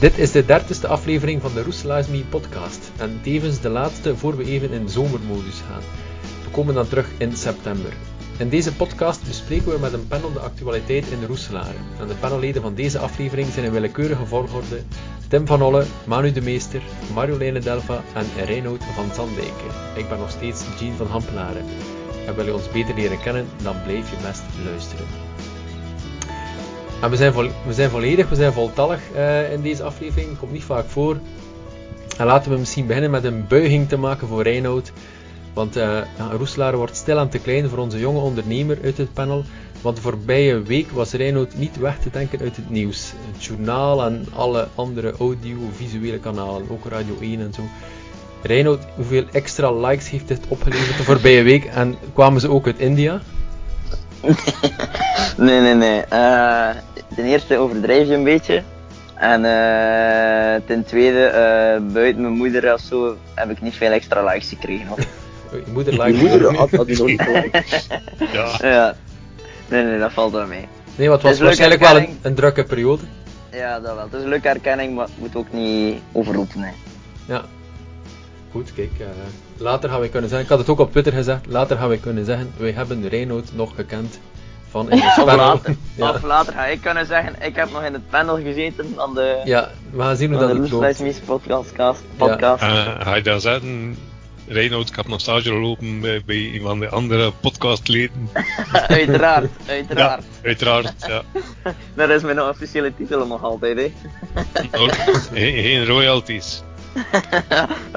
Dit is de dertigste aflevering van de Roeselaars Me podcast en tevens de laatste voor we even in zomermodus gaan. We komen dan terug in september. In deze podcast bespreken we met een panel de actualiteit in de Roeselaren. En de panelleden van deze aflevering zijn in willekeurige volgorde Tim van Olle, Manu de Meester, Marjoleine Delva en Reinoud van Zandijken. Ik ben nog steeds Jean van Hampelaren. En wil je ons beter leren kennen, dan blijf je best luisteren. En Ah, we zijn, vo- we zijn volledig, we zijn voltallig eh, in deze aflevering. Komt niet vaak voor. En laten we misschien beginnen met een buiging te maken voor Reinoud. Want eh ja, Roeselaar wordt stilaan te klein voor onze jonge ondernemer uit het panel. Want de voorbije week was Reinoud niet weg te denken uit het nieuws. Het journaal en alle andere audiovisuele kanalen, ook Radio 1 en zo. Reinoud, hoeveel extra likes heeft dit opgeleverd de voorbije week? En kwamen ze ook uit India? Nee, nee, nee. Eh, ten eerste overdrijf je een beetje. En eh, ten tweede, eh, buiten mijn moeder of zo, heb ik niet veel extra likes gekregen. Hoor. Oei, Je moeder Je likes moeder ook had, niet. had die nog niet nodig. Ja, ja. Nee, nee, dat valt wel mee. Nee, want het was Het is leuke waarschijnlijk wel een, ervaring. een drukke periode. Ja, dat wel. Het is een leuke herkenning, maar het moet ook niet overroepen. Hè. Ja. Goed, kijk. eh, later gaan we kunnen zeggen, ik had het ook op Twitter gezegd, later gaan we kunnen zeggen, wij hebben Reinoud nog gekend van in ons Of panel. later. Ja. Of later ga ik kunnen zeggen, ik heb nog in het panel gezeten van de, ja, we gaan zien hoe van de dat het Roeslijs loopt. Mies podcast. cast- podcast. eh, ga je daar zeggen, Reinoud, ik heb nog stage gelopen bij, bij een van de andere podcastleden. uiteraard, Ja, uiteraard. uiteraard. Ja. Dat is mijn officiële titel nog altijd. Hè. No- geen, geen royalties.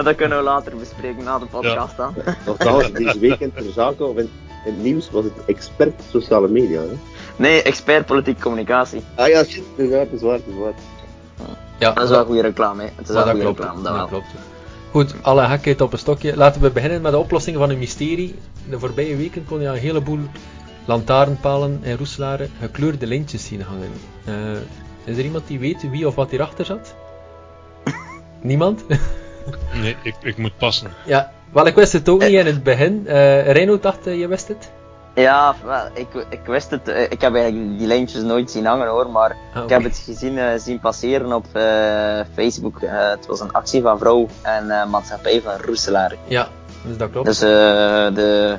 dat kunnen we later bespreken na de podcast dan. Nogthans, deze week in ter zake of in, in het nieuws was het expert sociale media. Hè? Nee, expert politieke communicatie. Ah ja, shit, inderdaad, het is waar, het is waar. Ja, Dat is wel goede reclame, hè. Het is maar wel Oh, dat goede klopt. reclame, dat dat wel. klopt. Goed, alle gekheid op een stokje. Laten we beginnen met de oplossing van een mysterie. De voorbije weken kon je een heleboel lantaarnpalen en roeselaren gekleurde lintjes zien hangen. Eh, is er iemand die weet wie of wat hierachter zat? Niemand? Nee, ik, ik moet passen. Ja, wel, ik wist het ook niet in het begin. Eh Reinoud dacht, eh, je wist het? Ja, wel, ik, ik wist het. eh, Ik heb eigenlijk die lijntjes nooit zien hangen hoor, maar Ah, ik oké. heb het gezien eh, zien passeren op eh, Facebook. Eh, het was een actie van Vrouw en eh, Maatschappij van Roeselaar. Ja, dus dat klopt. Dus eh, de,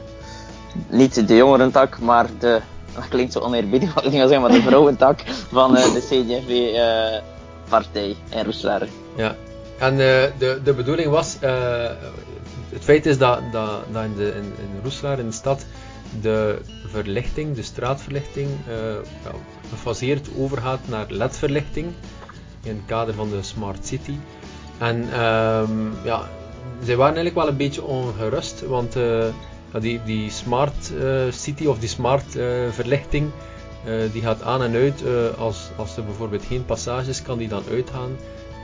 niet de jongerentak, maar de. Dat klinkt zo oneerbiedig wat ik niet wil zeggen, maar de vrouwentak van eh, de CDV-partij eh, in Roeselaar. Ja. En eh, de, de bedoeling was, eh, het feit is dat, dat, dat in, de, in, in Roeselaar, in de stad, de verlichting, de straatverlichting, eh, ja, gefaseerd overgaat naar ledverlichting in het kader van de Smart City. En ehm, ja, zij waren eigenlijk wel een beetje ongerust, want eh, ja, die, die Smart eh, City of die Smart eh, verlichting, eh, die gaat aan en uit. eh, als, als er bijvoorbeeld geen passage is, kan die dan uitgaan.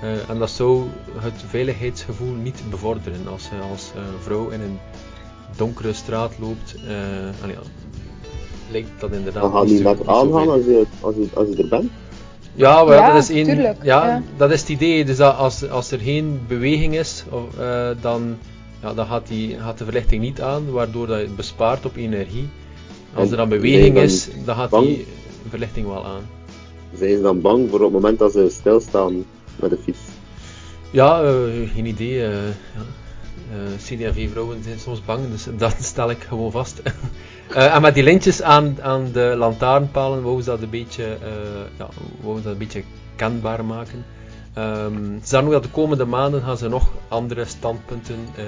Eh, en dat zou het veiligheidsgevoel niet bevorderen als je als eh, vrouw in een donkere straat loopt. eh, allee, ja, lijkt dat inderdaad. Dan gaan niet die zo- net niet zo aangaan veilig. als je, als, je, als je er bent. Ja, wel, Ja, dat is één. tuurlijk, ja, ja. dat is het idee. Dus dat als, als er geen beweging is, of, eh, dan, ja, dan gaat, die, gaat de verlichting niet aan, waardoor dat je het bespaart op energie. Als En er dan ben je beweging dan is, dan gaat bang? die verlichting wel aan. Zijn ze dan bang voor op het moment dat ze stilstaan met de fiets? Ja, eh, geen idee. eh, ja. Eh, CDV-vrouwen zijn soms bang, dus dat stel ik gewoon vast. Eh, en met die lintjes aan, aan de lantaarnpalen wouden ze dat een beetje, eh, ja, wouden ze dat een beetje kenbaar maken. Ehm ze zeggen ook dat de komende maanden gaan ze nog andere standpunten eh,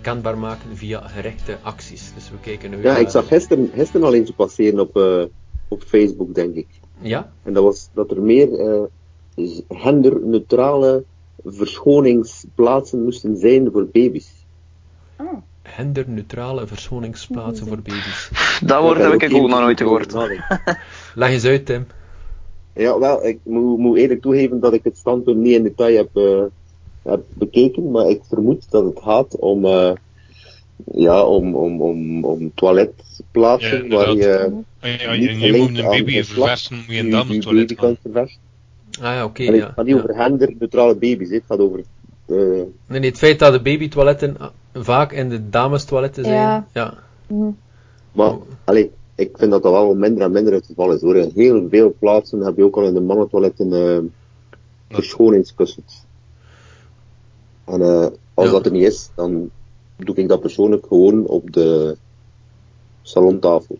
kenbaar maken via gerechte acties. Dus we kijken nu... Ja, eh, ik zag gisteren, gisteren al eentje passeren op, eh, op Facebook, denk ik. Ja? En dat was dat er meer eh, genderneutrale verschoningsplaatsen moesten zijn voor baby's. Oh, Genderneutrale verschoningsplaatsen voor baby's. Dat woord heb ik ook nog nooit gehoord. Leg eens uit, Tim. Ja, wel, ik moet, moet eerlijk toegeven dat ik het standpunt niet in detail heb, eh, heb bekeken, maar ik vermoed dat het gaat om, eh, ja, om, om, om, om Ja, toiletplaatsen waar inderdaad. je En, Ah, ja, Niet en je moet gelinkt een aan baby een vlak, verversen, moet je je- dan je een toilet baby gaan. kan verversen. Ah ja, oké. En ja. het gaat niet ja. over genderneutrale baby's, hè. het gaat over eh, Nee, nee, het feit dat de babytoiletten ah, vaak in de damestoiletten zijn. Ja. Ja. Maar, Oh. allee, ik vind dat dat wel minder en minder het geval is hoor. In Heel veel plaatsen heb je ook al in de mannentoiletten eh verschoningskussens. En eh, als Ja. dat er niet is, dan doe ik dat persoonlijk gewoon op de salontafel.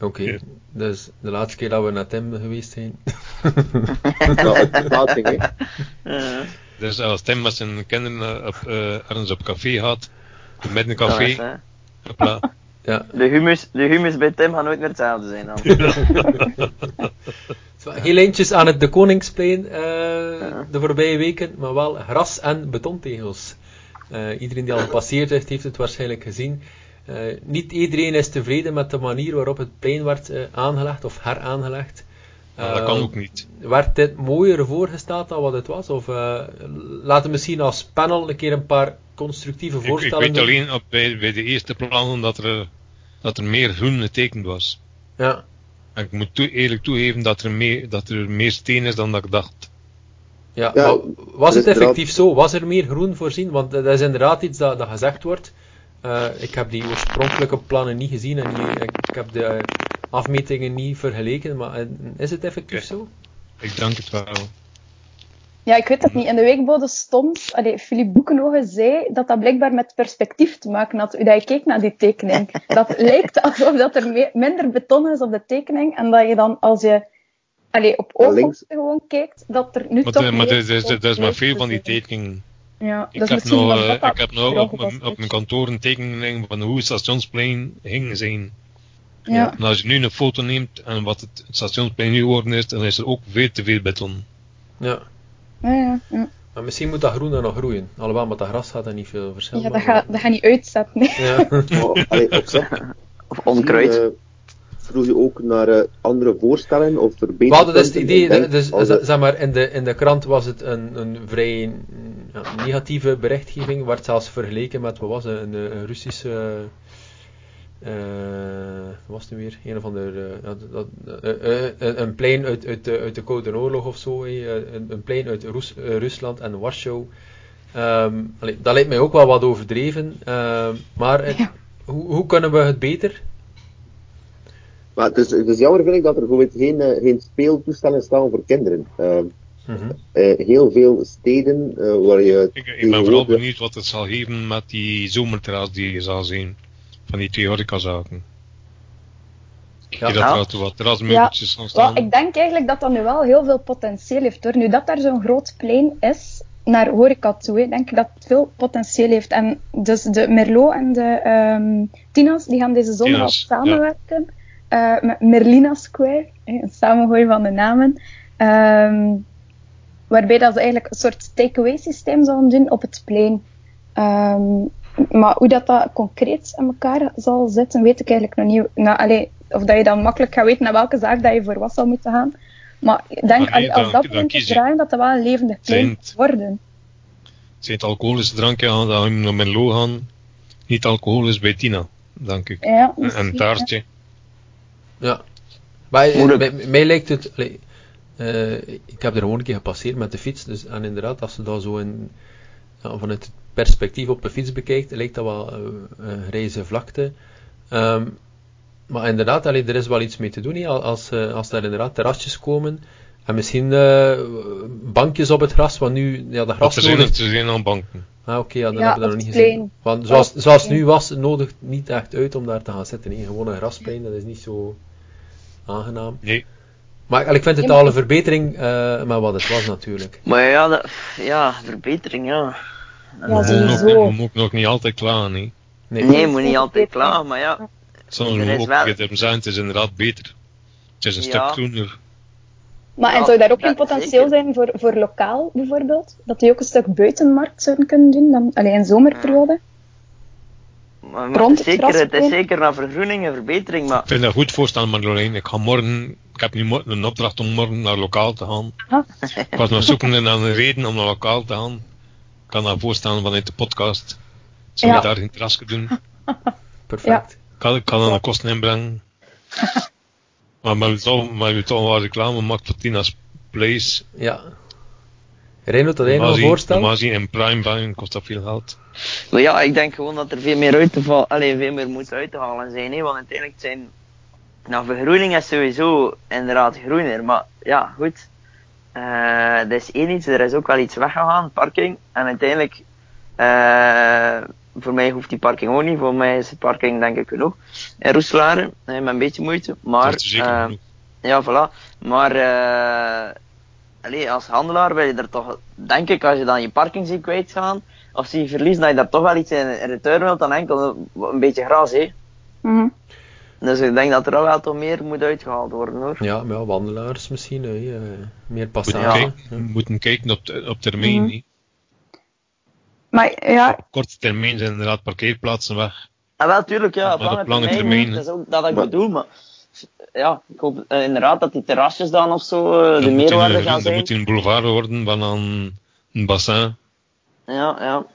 Oké, Ja. dus de laatste keer dat we naar Tim geweest zijn. Ja, op de plaatsing, hè. Eh, Dus als Tim met zijn kinderen eh, op, eh, ergens op café gaat, met een dat is, café, eh, hopla, Ja, de, humus, de humus bij Tim gaat nooit meer hetzelfde zijn dan. Het was Geen lijntjes aan het De Koningsplein eh, Ja. de voorbije weken, maar wel gras en betontegels. Eh, iedereen die al gepasseerd heeft, heeft het waarschijnlijk gezien. Eh, niet iedereen is tevreden met de manier waarop het plein werd eh, aangelegd of heraangelegd. maar dat Eh, kan ook niet. Werd dit mooier voorgesteld dan wat het was? Of eh, laten we misschien als panel een keer een paar constructieve Ik, ik voorstellen weet doen? alleen op, bij, bij de eerste plannen dat er, dat er meer groen getekend was. Ja, En ik moet toe- eerlijk toegeven dat er, meer, dat er meer steen is dan dat ik dacht. ja. Ja, maar was er is het effectief zo? Was er meer groen voorzien? Want eh, dat is inderdaad iets dat, dat gezegd wordt. Eh, ik heb die oorspronkelijke plannen niet gezien en die- ik, ik heb de eh, afmetingen niet vergeleken, maar eh, is het effectief Ja. zo? Ik dank het wel. Ja, ik weet Mhm. het niet. In de weekbode stond, allee, Philippe Boekenogen zei dat dat blijkbaar met perspectief te maken had, hoe dat je keek naar die tekening. Dat lijkt alsof dat er me- minder beton is op de tekening en dat je dan als je allee, op Naar links. ooghoogte gewoon kijkt, dat er Maar, nu toch de- maar meer er is, er is- er is maar beton veel van die is. tekeningen. Ja, Ik dus heb misschien nou, was eh, dat dat ik heb nou erover op, mijn- was. op mijn kantoor een tekening van hoe het stationsplein ging zijn. Ja. En als je nu een foto neemt en wat het stationsplein nu geworden is, dan is er ook veel te veel beton. Ja. Ja, ja, ja. Maar misschien moet dat groen dan nog groeien. Alhoewel, met dat gras gaat er niet veel verschil ja dat maken. gaat dat ga niet uitzetten. nee. Ja. Maar, allee, op zich, misschien, Of onkruid. eh, vroeg je ook naar eh, andere voorstellen of verbeteringen? Maar dat is het idee. Ik denk, Dus, als z- het- zeg maar, in de, in de krant was het een, een vrij mm, ja, negatieve berichtgeving. Werd zelfs vergeleken met, wat was het, een, eh, een Russische... eh, wat was het nu weer? Een of ander... eh, ja, dat, eh, eh, eh, een plein uit, uit, de- uit de Koude Oorlog of zo. eh, een, een plein uit Roes- eh, Rusland en Warschau. Ehm, allee, dat lijkt mij ook wel wat overdreven. ehm, maar het- Ja. hoe, hoe kunnen we het beter? Maar het is, het is jammer vind ik dat er bijvoorbeeld geen, eh, geen speeltoestellen staan voor kinderen. Ehm, Mhm. eh, heel veel steden eh, waar je. Ik, ik ben vooral tegenwoordig- benieuwd wat het zal geven met die zomerterras die je zal zien. Van die twee horecazaken. Ja, dat Ja. er altijd wat terrasmeubeltjes gaan staan. Wel, ik denk eigenlijk dat dat nu wel heel veel potentieel heeft. Hoor. Nu dat daar zo'n groot plein is, naar horeca toe, hè, denk ik dat het veel potentieel heeft. En dus de Merlot en de ehm, Tina's, die gaan deze zondag Tina's, samenwerken. eh, met Merlina Square, hè, een samengooi van de namen. Ehm, waarbij dat ze eigenlijk een soort takeaway systeem zouden doen op het plein. Ehm, maar hoe dat, dat concreet aan elkaar zal zitten, weet ik eigenlijk nog niet. Nou, allee, of dat je dan makkelijk gaat weten naar welke zaak dat je voor wat zal moeten gaan. Maar ik denk, Maar nee, allee, als dan- dat dan begint te kies je. draaien, dat dat wel een levendig Zijn plein het- wordt worden. Zijn het alcoholische dranken aan, dan moet je naar Menlo gaan. Niet alcoholisch bij Tina, dank ik. Ja, En misschien, een taartje. Ja. Maar eh, Moeilijk. mij, mij lijkt het... allee, eh, ik heb er gewoon een keer gepasseerd met de fiets. Dus, en inderdaad, als je dat zo in, ja, vanuit het perspectief op de fiets bekijkt, lijkt dat wel eh, een grijze vlakte. Ehm, maar inderdaad, allee, er is wel iets mee te doen. hè. Al- Als, eh, als daar inderdaad terrasjes komen... En misschien eh, bankjes op het gras, want nu, ja, de Dat er zijn, grasnoden... er zijn aan banken. Ah, oké, ja, dan Ja, hebben we dat op nog niet het gezien. plein. Want op zoals, het zoals plein. nu was, nodig niet echt uit om daar te gaan zitten. hè. Gewoon een grasplein, dat is niet zo aangenaam. Nee, Maar ik vind het Ja, maar- al een verbetering eh maar wat het was natuurlijk. Maar ja, dat, ja, verbetering, ja. Ja, we mogen ook- sowieso. we mogen ook niet altijd klaar, nee. Nee. Nee, moet niet altijd klaar, maar ja. Soms Er moet is ook wel- tegen hem zijn, het is inderdaad beter. Het is een Ja. stuk groener. Maar Ja, en zou daar ook geen dat potentieel zeker. zijn voor, voor lokaal bijvoorbeeld? Dat die ook een stuk buitenmarkt zouden kunnen doen, dan, allee, in zomerperiode? Maar, maar het, Rond het is zeker, het is terrasplein. zeker naar vergroening en verbetering, maar Ik vind dat goed voorstaan, Marjolein. Ik ga morgen, ik heb nu morgen een opdracht om morgen naar lokaal te gaan. Ah. Ik was nog zoekende naar een reden om naar lokaal te gaan. Ik kan daar voorstaan vanuit de podcast. Zou je Ja. daar geen terrasje doen? Perfect. Ik kan, ik kan dan de kosten inbrengen. maar maar toch, maar je toch wel reclame maakt voor Tina's Place. Ja. Reinhold, had jij nog Normaal een zien- voorstel? normaal zien in prime buying kost dat veel geld. Maar ja, ik denk gewoon dat er veel meer uit te vallen, alleen veel meer moet uit te halen zijn, hè? want uiteindelijk zijn, nou vergroening is sowieso inderdaad groener, maar ja, goed. Eh, dat is één iets, er is ook wel iets weggegaan, parking. En uiteindelijk, eh, voor mij hoeft die parking ook niet. Voor mij is de parking denk ik genoeg. In Roeselare, eh, met een beetje moeite. Maar, dat is zeker eh, genoeg. ja, voilà. Maar eh allee, als handelaar wil je er toch, denk ik, als je dan je parking ziet kwijtgaan, of zie je verlies, dat je daar toch wel iets in in return wilt dan enkel een beetje gras, hè. Mhm. Dus ik denk dat er wel toch meer moet uitgehaald worden, hoor. Ja, maar ja, wandelaars misschien, hè, eh, meer Moeten, passage. kijken, moeten kijken op, te- op termijn. Mhm. hè. Maar ja, Op korte termijn zijn inderdaad parkeerplaatsen weg. Ah, wel, tuurlijk, ja. Op Maar op lange, lange termijn, termijn, dat is ook dat ik Maar- bedoel, maar... Ja, ik hoop eh, inderdaad dat die terrasjes dan of zo eh, de Dat moet in meerwaarde een- gaan Dat zijn. moet in een boulevard worden, van aan een bassin. Ja, ja.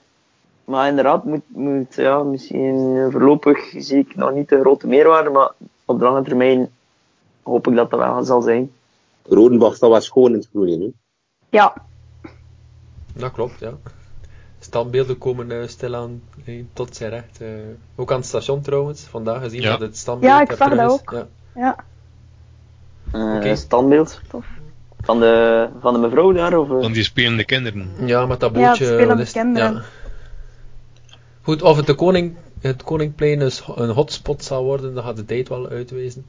Maar inderdaad, moet, moet, ja, misschien eh, voorlopig zie ik nog niet de grote meerwaarde, maar op de lange termijn hoop ik dat dat wel zal zijn. Rodenbach staat wel schoon in het groen, hè. ja. Dat klopt, ja. Standbeelden komen eh, stilaan eh, tot zijn recht. eh. ook aan het station trouwens, vandaag gezien Ja. dat het standbeeld Ja, ik er zag terug dat is. ook. Ja. ja. Eh Oké. Standbeeld. Tof. Van de, van de mevrouw daar? Of, eh? Van die spelende kinderen. ja, met dat Ja, het bootje. spelen wat met is kinderen. Goed, of het, de koning, het Koningplein een, s- een hotspot zal worden, dat gaat de tijd wel uitwijzen.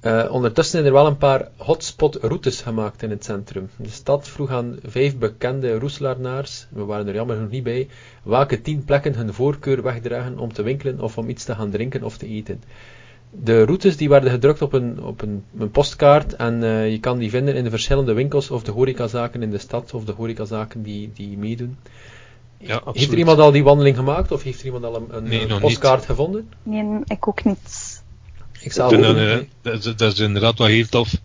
Eh, ondertussen zijn er wel een paar hotspot-routes gemaakt in het centrum. De stad vroeg aan vijf bekende Roeselaarnaars, we waren er jammer genoeg niet bij, welke tien plekken hun voorkeur wegdragen om te winkelen of om iets te gaan drinken of te eten. De routes die werden gedrukt op een, op een, een postkaart en eh, je kan die vinden in de verschillende winkels of de horecazaken in de stad of de horecazaken die, die meedoen. Ja, absoluut. Heeft er iemand al die wandeling gemaakt of heeft er iemand al een, een, Nee, eh, nog niet. postkaart gevonden? Nee, ik ook niet. Ik zelf Ik ook vind dat, niet, eh, nee. dat, is- dat is inderdaad wel heel tof.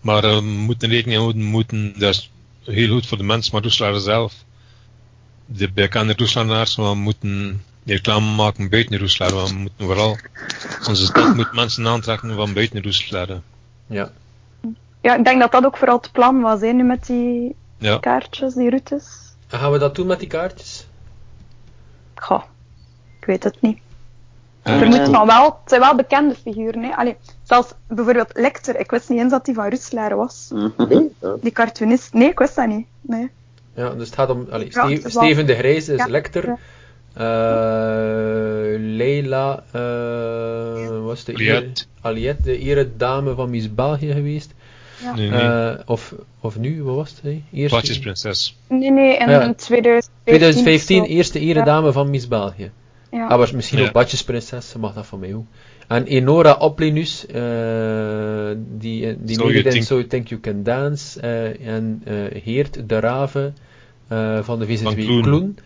Maar eh, we moeten rekening houden, we moeten, dat is heel goed voor de mensen, maar Roeselaren zelf, de bekende Roeselaars, we moeten reclame maken buiten Roeselaren. We moeten vooral, onze stad moet mensen aantrekken van buiten Roeselaren. Ja. Ja, ik denk dat dat ook vooral het plan was, hè, nu met die Ja, kaartjes, die routes. En gaan we dat doen met die kaartjes? Goh, ik weet het niet. Eh, er weet moet het van wel, het zijn wel bekende figuren. Hè. Allee, zelfs bijvoorbeeld Lecter, ik wist niet eens dat hij van Ruslaar was. Nee? Ja. Die cartoonist, nee, ik wist dat niet. Nee. Ja, dus het gaat om allee, Ja, Ste- het is wel- Steven de Grijze is Ja, lector. ja. Eh, Leila eh was de Aliette. Ire- Aliette, de eredame van Miss België geweest. nee, nee. Eh, of, of nu, wat was het? hè? Eerste- Plaatjesprinses. Nee, nee, in Ja. 2015. 2015, of zo. eerste eredame van Miss België. Ja. Ah, was misschien Ja. ook Badjesprinses, ze mag dat van mij ook. En Enora Oplinus, eh, die, die So meedeed You in Think- So You Think You Can Dance. eh, en eh, Heert de Rave eh, van de Van VZW Kloen. Kloen.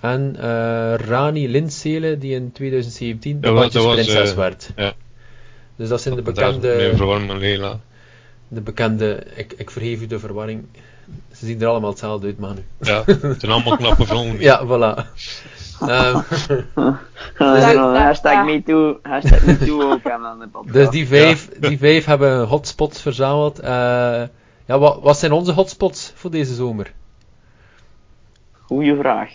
En eh, Rani Linsele, die in 2017 de Dat was- dat was, Badjesprinses eh, werd. ja. Dus dat zijn de Daar, bekende, nee, verwarm en Leila. de bekende ik, ik vergeef u de verwarring. Ze zien er allemaal hetzelfde uit, Manu. Ja, het zijn allemaal knappe vrouwen. Ja, voilà. Ehm, Eh, Ja. hashtag Ja. me too, hashtag me too ook aan aan de podcast. Dus die vijf, die vijf hebben een hotspots verzameld. Eh, ja, wat, wat zijn onze hotspots voor deze zomer? Goeie vraag.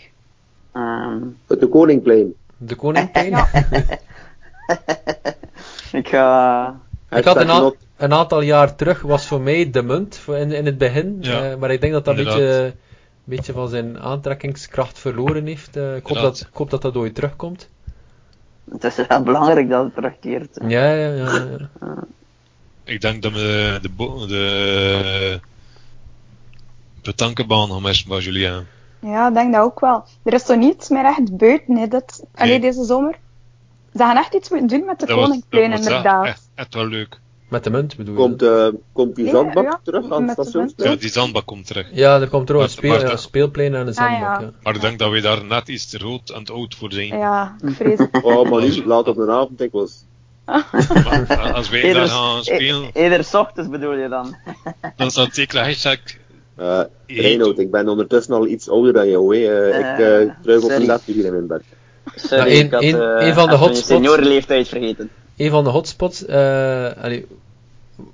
Ehm, Het de Koningplein. De Koningplein? Eh, Ja. ik ga... Ik had een, Hashtag a- not- een aantal jaar terug, was voor mij de munt voor in, in het begin. Ja, Eh, maar ik denk dat dat een beetje, inderdaad. een beetje van zijn aantrekkingskracht verloren heeft. Eh, ik, hoop dat, Inderdaad. ik hoop dat dat ooit terugkomt. Het is wel belangrijk dat het terugkeert. Ja, ja, ja. ja. Ik denk dat we de, bo- de, de tankenbaan gaan missen bij Julien. Ja, ik denk dat ook wel. Er is zo niets meer echt buiten, hè, dit, allee, Nee. deze zomer. Ze gaan echt iets moeten doen met de Dat was- Koninkplein, dat was inderdaad. Echt, echt wel leuk. Met de munt bedoel je? Komt, eh, komt die Nee, zandbak ja, terug aan het met de Ja, stationsplein? die zandbak komt terug. Ja, er komt er ook een, Maar- speel, maar ja, dat- een speelplein en een Ah, ja. zandbak. ja. Maar ik denk dat we daar net iets te groot en te oud voor zijn. Ja, ik vrees het. Oh, maar niet laat op de avond, ik was... Maar a- als wij daar dus- Eerder, gaan spelen, e- eerder 's ochtends bedoel Nou, je dan? dan staat zeker hashtag eh Eet. Reinoud, ik ben ondertussen al iets ouder dan jou, hè. Eh, ik eh Eh, druif op sorry. een lapje hier in mijn bed. Sorry, Nou, een- ik had een- eh, een van de even hotspots. mijn seniorenleeftijd vergeten. een van de hotspots eh, allee,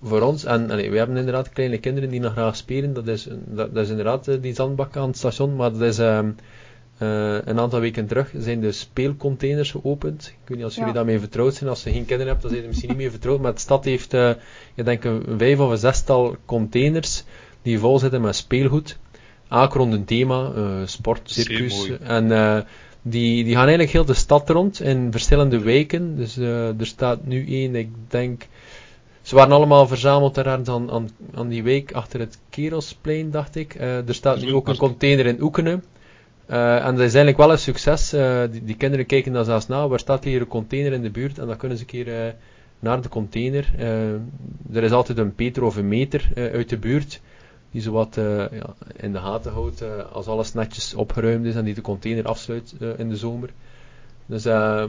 voor ons, en allee, we hebben inderdaad kleine kinderen die nog graag spelen, dat is, dat, dat is inderdaad eh, die zandbak aan het station, maar dat is ehm, eh, een aantal weken terug zijn de speelcontainers geopend. Ik weet niet als jullie Ja. daarmee vertrouwd zijn, als je geen kinderen hebt, dan zijn je er misschien niet mee vertrouwd, maar de stad heeft, eh, ik denk, een vijf of een zestal containers die vol zitten met speelgoed. Elk rond een thema, eh, sport, Zeer circus. mooi. En eh, die, die gaan eigenlijk heel de stad rond in verschillende wijken. Dus eh, er staat nu één, ik denk. Ze waren allemaal verzameld daar aan, aan, aan die wijk achter het Kerosplein, dacht ik. Eh, er staat nu ook een container in Oekenen. Eh, en dat is eigenlijk wel een succes. Eh, die, die kinderen kijken daar zelfs na. Waar staat hier een container in de buurt? En dan kunnen ze een keer eh, naar de container. Eh, er is altijd een peter of een meter eh, uit de buurt. Die zowat eh ja, in de gaten houdt eh, als alles netjes opgeruimd is en die de container afsluit eh, in de zomer. Dus eh,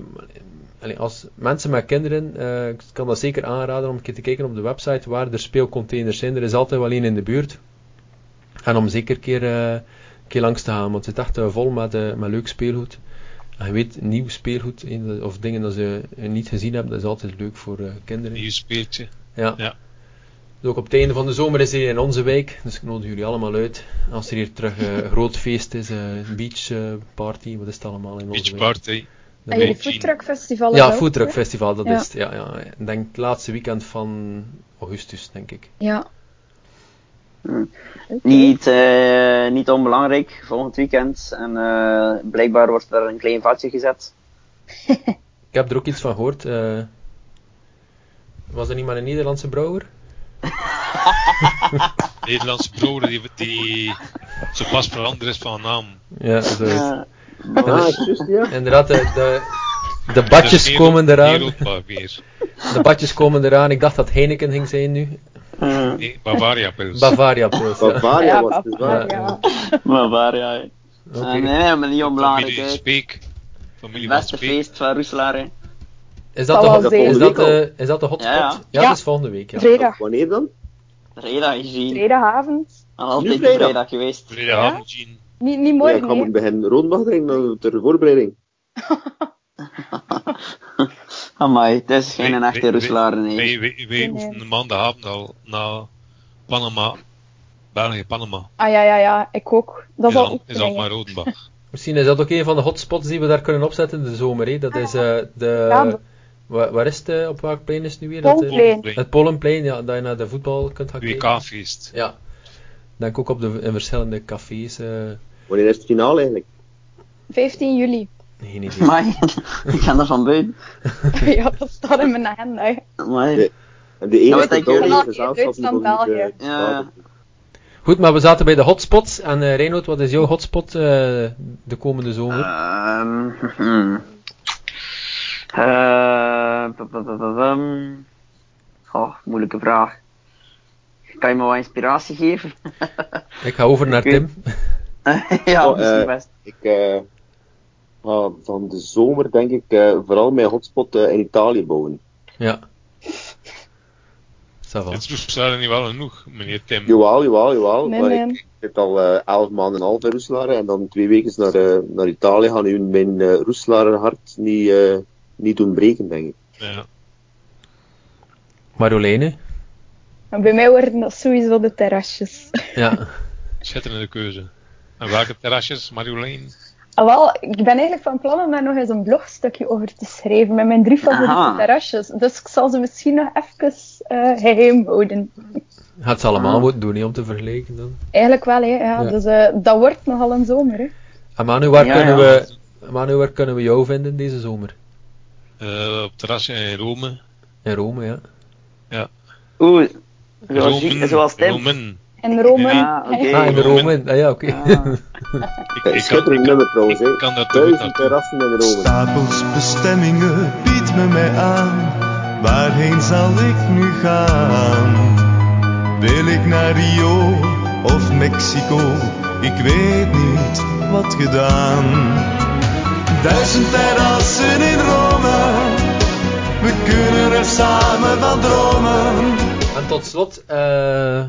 allee, als mensen met kinderen, eh, ik kan dat zeker aanraden om een keer te kijken op de website waar er speelcontainers zijn. Er is altijd wel één in de buurt. En om zeker een keer, eh, een keer langs te gaan, want het zit echt eh, vol met, eh, met leuk speelgoed. En je weet, nieuw speelgoed eh, dat- of dingen dat ze eh, niet gezien hebben, dat is altijd leuk voor eh, kinderen. Nieuw speeltje. Ja. Ja. Dus ook op het einde van de zomer is er hier in onze wijk. Dus ik nodig jullie allemaal uit. Als er hier terug eh, een groot feest is, eh, een beach eh, party, wat is het allemaal in onze Beach wijk? party. Dan En weet jullie je- foodtruckfestival Ja, is ook, Foodtruck hè? Festival, dat Ja. is het. Ja, ja. Ik denk het laatste weekend van augustus, denk ik. Ja. Oké. Niet, eh, niet onbelangrijk, volgend weekend. En eh, blijkbaar wordt er een klein vatje gezet. Ik heb er ook iets van gehoord. eh, was er niet maar een Nederlandse brouwer? Nederlandse broer die, die zo pas veranderd is van naam. Ja, zo is het. Ja. Ah, juist, ja. Inderdaad, de, de, de badjes Dus komen wereld- eraan. wereldbaar weer. De badjes komen eraan. Ik dacht dat Heineken ging zijn nu. Eh, Nee, Bavaria Pils. Bavaria Pils. ja. Bavaria Ja, dus was het papa, waar. ja. ja. maar waar, ja. hè. Oké. Ah, Eh, nee, maar niet onbelangrijk. Familie hè. Speek. Familie Het van beste Speek. feest van Roeselaar. hè. Is dat, de, Zal wel hot- zijn. is, dat Volgende de, is dat de hotspot? Ja, ja. Ja. dat is volgende week. Ja. Vrijdag. Wanneer dan? Vrijdag is hier. Vrijdagavond. Al altijd Nu een vrijdag. vrijdag geweest. Vrede Ham, Jean. Niet, niet Ja, ik morgen, ga hè. moeten beginnen roodmachten dan eh, ter voorbereiding. Amai, het is geen Wij- echte wij- Roeselaar, nee. Wij, wij, wij Nee. oefenen maandagavond al naar Panama. België, Panama. Ah ja, ja, ja. Ik ook. Dat Is is al al, is oefeningen. al maar Rodenbach. Misschien is dat ook een van de hotspots die we daar kunnen opzetten in de zomer. Hè? Dat is eh, de... Ja, maar- waar, waar is het? eh, op welk plein is het nu weer? eh, Poolplein. het Polenplein, ja, dat je naar de voetbal kunt gaan kijken. WK-feest. Ja. Denk ook op de, in verschillende cafés. eh, Wanneer is het finale eigenlijk? 15 juli. geen idee. Amai, ik ga er van buiten. ja, dat staat in mijn agenda. hè. Amai. Nee. En de enige wat denk je? Belgische België, gezelschap Duitsland, die nog niet, eh, België. Ja. Goed, maar we zaten bij de hotspots. En eh Reinoud, wat is jouw hotspot eh, de komende zomer? Ehm, hmm. Eh, pa- pa- pa- pa- pam. Goh, moeilijke vraag. Kan je me wat inspiratie geven? ik ga over naar oké. Tim. ja, Oh, misschien eh, best. Ik eh, ga van de zomer denk ik eh, vooral mijn hotspot eh, in Italië bouwen. ja. Ça va. Het is Roeselaar niet wel genoeg, meneer Tim. Jawel, jawel, jawel. Nee, maar nee. Oh, Ik, ik zit al eh, elf maanden en half in Roeselare en dan twee weken naar, eh, naar Italië gaan nu mijn eh Roeselare hart niet, eh, niet doen breken, denk ik. Ja. Marjoleine? Maar bij mij worden dat sowieso de terrasjes. Ja. Schitterende keuze. En welke terrasjes, Marjolein? Ah, wel, ik ben eigenlijk van plan om daar nog eens een blogstukje over te schrijven met mijn drie favoriete Aha. terrasjes. Dus ik zal ze misschien nog even eh, geheim houden. Gaat ze allemaal Ah. moeten doen hè, om te vergelijken dan. Eigenlijk wel, hè. Ja, Ja. Dus eh, dat wordt nogal een zomer, hè. En Manu, waar, Ja, kunnen ja. We, Manu, waar kunnen we jou vinden deze zomer? Eh, op het terrasje in Rome. In Rome, ja. Oeh, zoals, Rome, zoals Tim. Rome. En Rome. Ja, oké. Ah, in Rome. Rome. Ah, ja, oké. Ah. Ik, Eh, ik kan, Schitterend ik, nummer trouwens, ik hè. kan dat doen. Duizend terrassen in Rome. Stapels bestemmingen biedt me mij aan. Waarheen zal ik nu gaan? Wil ik naar Rio of Mexico? Ik weet niet wat gedaan. Duizend terrassen in Rome. We kunnen er samen van dromen. En tot slot eh,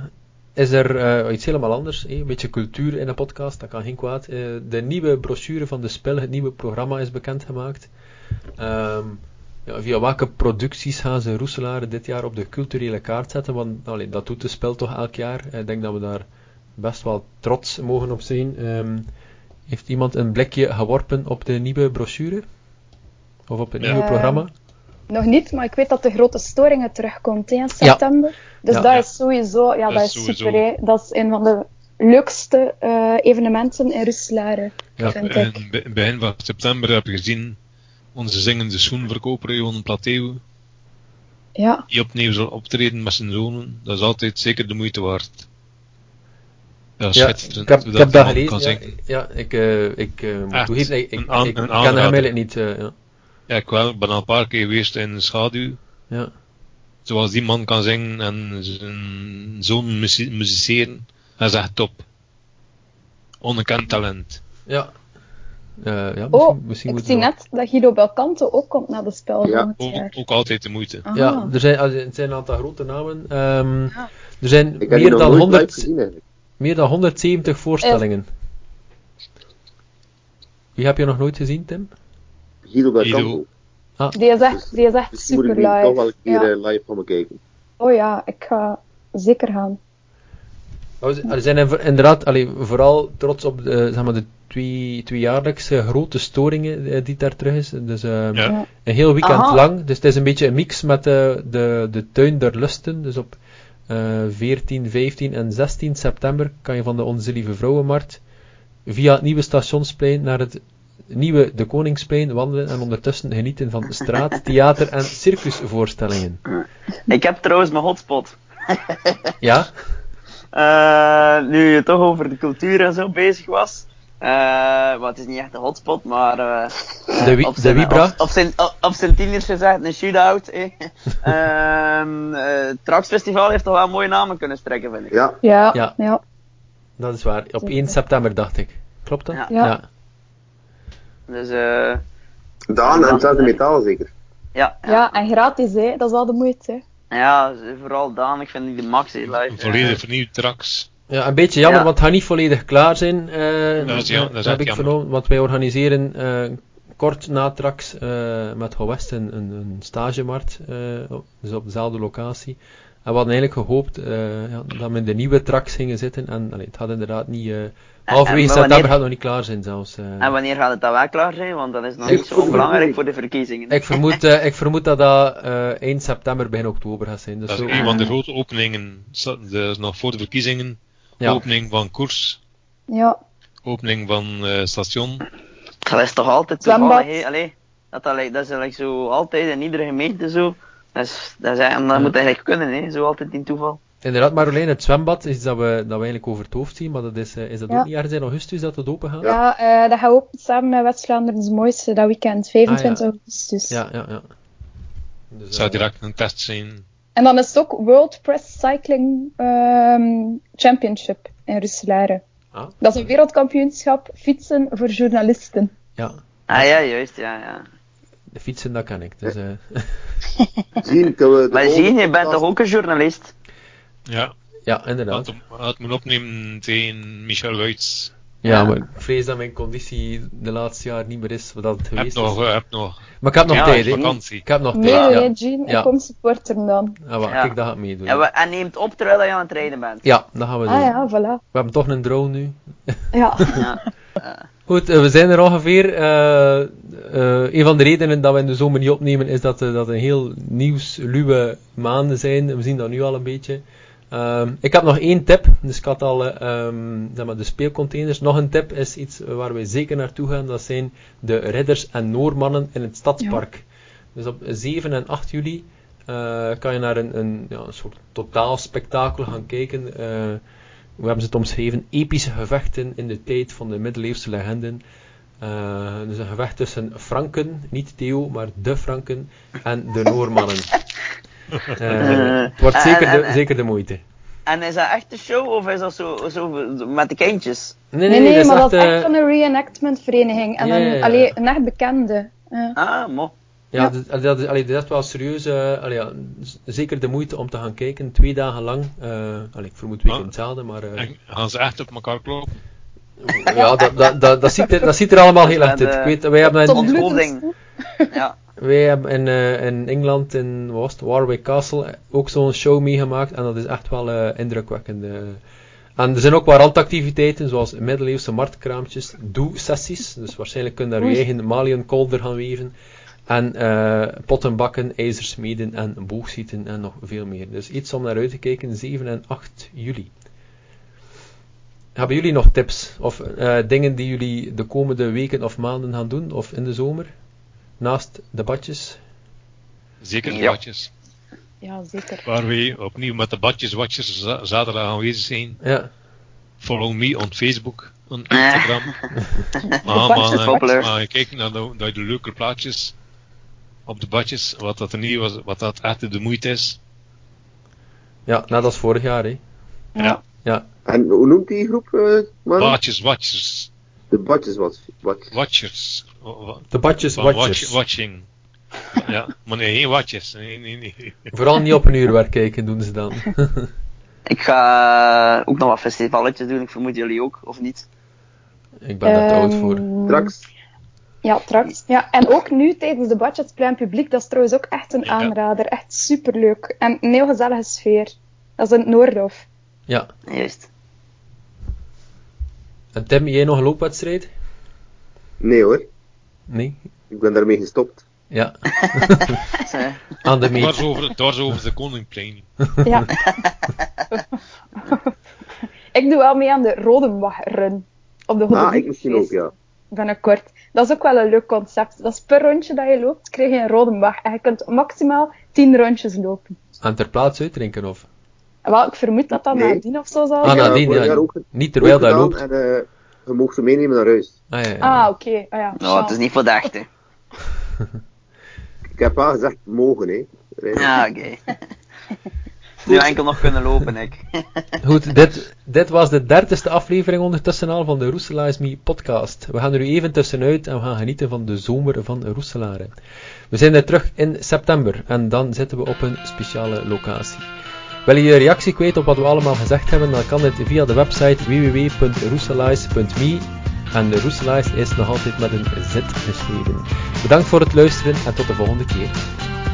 is er eh, iets helemaal anders. hè, Een beetje cultuur in de podcast, dat kan geen kwaad. Eh, de nieuwe brochure van de spel, het nieuwe programma is bekendgemaakt. Ehm, ja, via welke producties gaan ze Roeselaar dit jaar op de culturele kaart zetten? Want allee, dat doet de spel toch elk jaar. Eh, Ik denk dat we daar best wel trots mogen op zijn. Ehm, heeft iemand een blikje geworpen op de nieuwe brochure? Of op het Ja. nieuwe Eh, programma? Nog niet, maar ik weet dat de grote storingen terugkomt hè, in september. Dus Ja, dat ja. is sowieso, ja, dat, is is sowieso- super. Hè. Dat is een van de leukste eh, evenementen in Roeselare, Ja, vind En ik. be- begin van september heb je gezien onze zingende schoenverkoper Johan Plateau, Ja, die opnieuw zal optreden met zijn zonen. Dat is altijd zeker de moeite waard. Ja, Ja, schitterend. ik heb, hoe ik heb dat die gelezen. man kan Ja, zingen. ja, ik, eh, ik eh, moet Echt, toegeven, ik, ik, een aan- ik een ken hem aanrader. eigenlijk niet. eh, ja. Ja, ik wel, ik ben al een paar keer geweest in de schaduw. Ja. Zoals die man kan zingen en zijn zoon muzi- muziceren. Dat is echt top. Ongekend talent. Ja. Eh, ja, misschien, Oh, misschien ik moeten zie we- net dat Guido Belcanto ook komt naar de spel Ja, volgend Ook, jaar. ook altijd de moeite. Ah, Ja, er zijn, er zijn een aantal grote namen. Ehm, Ja. Er zijn Ik heb meer die nog dan, nooit 100, live gezien eigenlijk. meer dan 170 voorstellingen. Wie heb je nog nooit gezien, Tim? Guido Guido. Belcanto. die, is echt, die is echt Dus moet super ik nu toch wel live. een keer Ja. eh, live van me kijken. Oh ja, ik ga zeker gaan. Nou, ze- Er zijn inv- inderdaad allee, vooral trots op de, zeg maar, de twee, tweejaarlijkse grote storingen eh, die daar terug is. Dus eh, Ja. Ja. een heel weekend Aha. lang. Dus het is een beetje een mix met eh, de, de tuin der lusten. Dus op eh, 14, 15 en 16 september kan je van de Onze Lieve Vrouwenmarkt via het nieuwe stationsplein naar het nieuwe De Koningsplein wandelen en ondertussen genieten van straat, theater en circusvoorstellingen. Ik heb trouwens mijn hotspot. Ja? Eh, nu je toch over de cultuur en zo bezig was. Eh wat is niet echt een hotspot, maar. eh, De wi- op de zijn- Wibra? Op, op zijn, op, op zijn tieners gezegd, een shootout. Eh. Ehm, eh, het Traxfestival heeft toch wel mooie namen kunnen strekken, vind ik. Ja, Ja, Ja. ja. ja. Dat is waar. Op Zeker. 1 september dacht ik. Klopt dat? Ja. Ja. Dus, eh Daan en Tante Metaal zeker. ja, ja. en gratis, hè. dat is wel de moeite. Hè. Ja, vooral Daan, ik vind die de max in live. Een volledig vernieuwd tracks. Ja, een beetje jammer, Ja. want het gaat niet volledig klaar zijn. eh, Dat is ja- dat is echt heb ik jammer. vernomen, want wij organiseren eh, kort na Trax eh, met Go West een, een, een stagemarkt, eh, op- dus op dezelfde locatie. En we hadden eigenlijk gehoopt eh, ja, dat we in de nieuwe Trax gingen zitten. En allee, het had inderdaad niet... eh halverwege en september wanneer- gaat het nog niet klaar zijn zelfs. eh. En wanneer gaat het dan wel klaar zijn? Want dat is nog Ik niet zo vermoed- onbelangrijk voor de verkiezingen. ik, vermoed, eh, ik vermoed dat dat eh, eind september, begin oktober gaat zijn. Dus Dat zo- is een van de grote openingen. Zat- de- nog voor de verkiezingen. ja. Opening van koers. Ja, Opening van eh, station. Dat is toch altijd Zwembad. toevallig, hè? Allee, dat, dat, lijkt- dat is eigenlijk zo altijd in iedere gemeente zo. Dat, is, dat, is, eigenlijk- dat Ja. moet eigenlijk kunnen, hè? zo altijd in toeval. Inderdaad, Marjolein, het zwembad is iets dat we, dat we eigenlijk over het hoofd zien, maar dat is, eh, is dat Ja. ook niet ergens in augustus dat het open gaat? ja. eh, dat gaat ook samen met West-Vlaanderen's Mooiste dat weekend, 25 Ah, augustus. Ja, ja, ja. Dus, Het zou eh, direct een test zijn. En dan is het ook World Press Cycling ehm, Championship in Roeselare. Ah. Dat is een wereldkampioenschap fietsen voor journalisten. Ja, Ah ja, juist, ja, ja. de fietsen, dat kan ik. Dus, eh, Zien, kunnen we de Maar volgende zie, je bent podcast- toch ook een journalist? Ja, ja, had, inderdaad. had men opnemen tegen Michel Luits. Ja, maar ik vrees dat mijn conditie de laatste jaar niet meer is wat dat het Heb geweest is. nog, eh, heb nog. Maar ik heb nog Ja, tijd, hè. Vakantie. Ik heb nog Nee, tijd, nee, ja. nee, Jean, Ja. ik kom supporter hem dan. Ah, wacht, Ja. ik dat ga ik meedoen. En, Ja, we- en neemt op terwijl dat je aan het rijden bent. dat gaan we doen. Ah ja, voilà. We hebben toch een drone nu. Ja, Ja. Goed, eh, we zijn er ongeveer. Eh, eh, een van de redenen dat we in de zomer niet opnemen is dat eh, dat een heel nieuwsluwe maanden zijn. We zien dat nu al een beetje. Ehm, ik heb nog één tip, dus ik had al eh, ehm, zeg maar, de speelcontainers. Nog een tip is iets waar we zeker naartoe gaan, dat zijn de Ridders en Noormannen in het Stadspark. Dus op 7 en 8 juli eh, kan je naar een, een, ja, een soort totaal spektakel gaan kijken. Eh, we hebben ze het omschreven, epische gevechten in de tijd van de middeleeuwse legenden. Eh, dus een gevecht tussen Franken, niet Theo, maar de Franken, en de Noormannen. Eh, het wordt En- zeker en- de, en- zeker de moeite. En is dat echt een show of is dat zo, zo met de kindjes? Nee, nee, nee, maar dat is eh, echt van een reenactmentvereniging. En Ja, ja, een, ja. allee, een echt bekende. Ja. Ah, mo. Ja, Ja. Dat, dat, is- allee, dat is wel serieus. eh, allee, ja, z- zeker de moeite om te gaan kijken. Twee dagen lang. eh, allee, ik vermoed weekend Ah. hetzelfde, maar eh, En gaan ze echt op elkaar kloppen? ja, dat, dat, dat, dat, ziet er, dat ziet er allemaal heel Dat echt is uit. met, Ik weet, eh, wij hebben, Tot in, Ons bloedens holding. toe. Ja. wij hebben in, eh, in Engeland, in wat was het, Warwick Castle, eh, ook zo'n show meegemaakt. En dat is echt wel eh, indrukwekkend. eh. En er zijn ook wat randactiviteiten, zoals middeleeuwse marktkraampjes, doe-sessies. Dus waarschijnlijk kun je daar je eigen Malian kolder gaan weven. En eh pottenbakken, ijzersmeden en boogschieten en nog veel meer. Dus iets om naar uit te kijken, 7 en 8 juli. Hebben jullie nog tips of eh, dingen die jullie de komende weken of maanden gaan doen of in de zomer? Naast de badjes? Zeker de Ja. badjes. Ja, zeker. Waar we opnieuw met de badjeswatchers za- zaterdag aanwezig zijn. Ja, Follow me on Facebook, on Instagram. maar badjeswatchers. maar, Populair. maar kijk naar de, naar de leuke plaatjes op de badjes. Wat dat er niet was, wat dat echt de moeite is. ja net als vorig jaar. Hè. Ja. Ja, En hoe noemt die groep, eh Manu? Badjeswatchers. De badjes wat. wat. Watchers. Wa- wa- de badjes, Van watch, watjes. watching. ja, maar nee, geen watjes. Nee, nee, nee. Vooral niet op een uurwerk kijken doen ze dan. Ik ga eh, ook nog wat festivaletjes doen, ik vermoed jullie ook, of niet? Ik ben daar te oud voor. Ehm, Straks. Ja, trakt. Ja, en ook nu tijdens de badje het plein publiek, dat is trouwens ook echt een Ja. aanrader. Echt superleuk. En een heel gezellige sfeer. Dat is in het Noordhof. Ja. Juist. En Tim, jij nog een loopwedstrijd? Nee hoor, Nee? ik ben daarmee gestopt. Ja. Aan de meet. Dwars over, dwars over de koningplein. Ja. ik doe wel mee aan de Rode Run. Op de Ah, ik misschien ook, Hollywoodfeest. ja. binnenkort. Dat is ook wel een leuk concept. Dat is per rondje dat je loopt, krijg je een rode mag. En je kunt maximaal 10 rondjes lopen. En ter plaatse uitdrinken of? En wel, ik vermoed dat dat Nee. nadien of zo zal Ah, zijn. Oh, ja, nadien, vorig ja. jaar ook- Niet terwijl Ook dat gedaan loopt. En eh, je mocht ze meenemen naar huis. Ah, ja, ja. Ah, oké. Ah, ja. Nou, het is niet voor de echte. Ik heb wel gezegd, mogen hè. Rijn. Ja, Ah, oké. nu enkel nog kunnen lopen, ik. Goed, dit, dit was de dertigste aflevering ondertussen al van de Roeselaars Me podcast. We gaan er nu even tussenuit en we gaan genieten van de zomer van Roeselaren. We zijn er terug in september en dan zitten we op een speciale locatie. Wil je je reactie kwijt op wat we allemaal gezegd hebben, dan kan dit via de website www.roeselaars.me en de Roeselaars is nog altijd met een Z geschreven. Bedankt voor het luisteren en tot de volgende keer.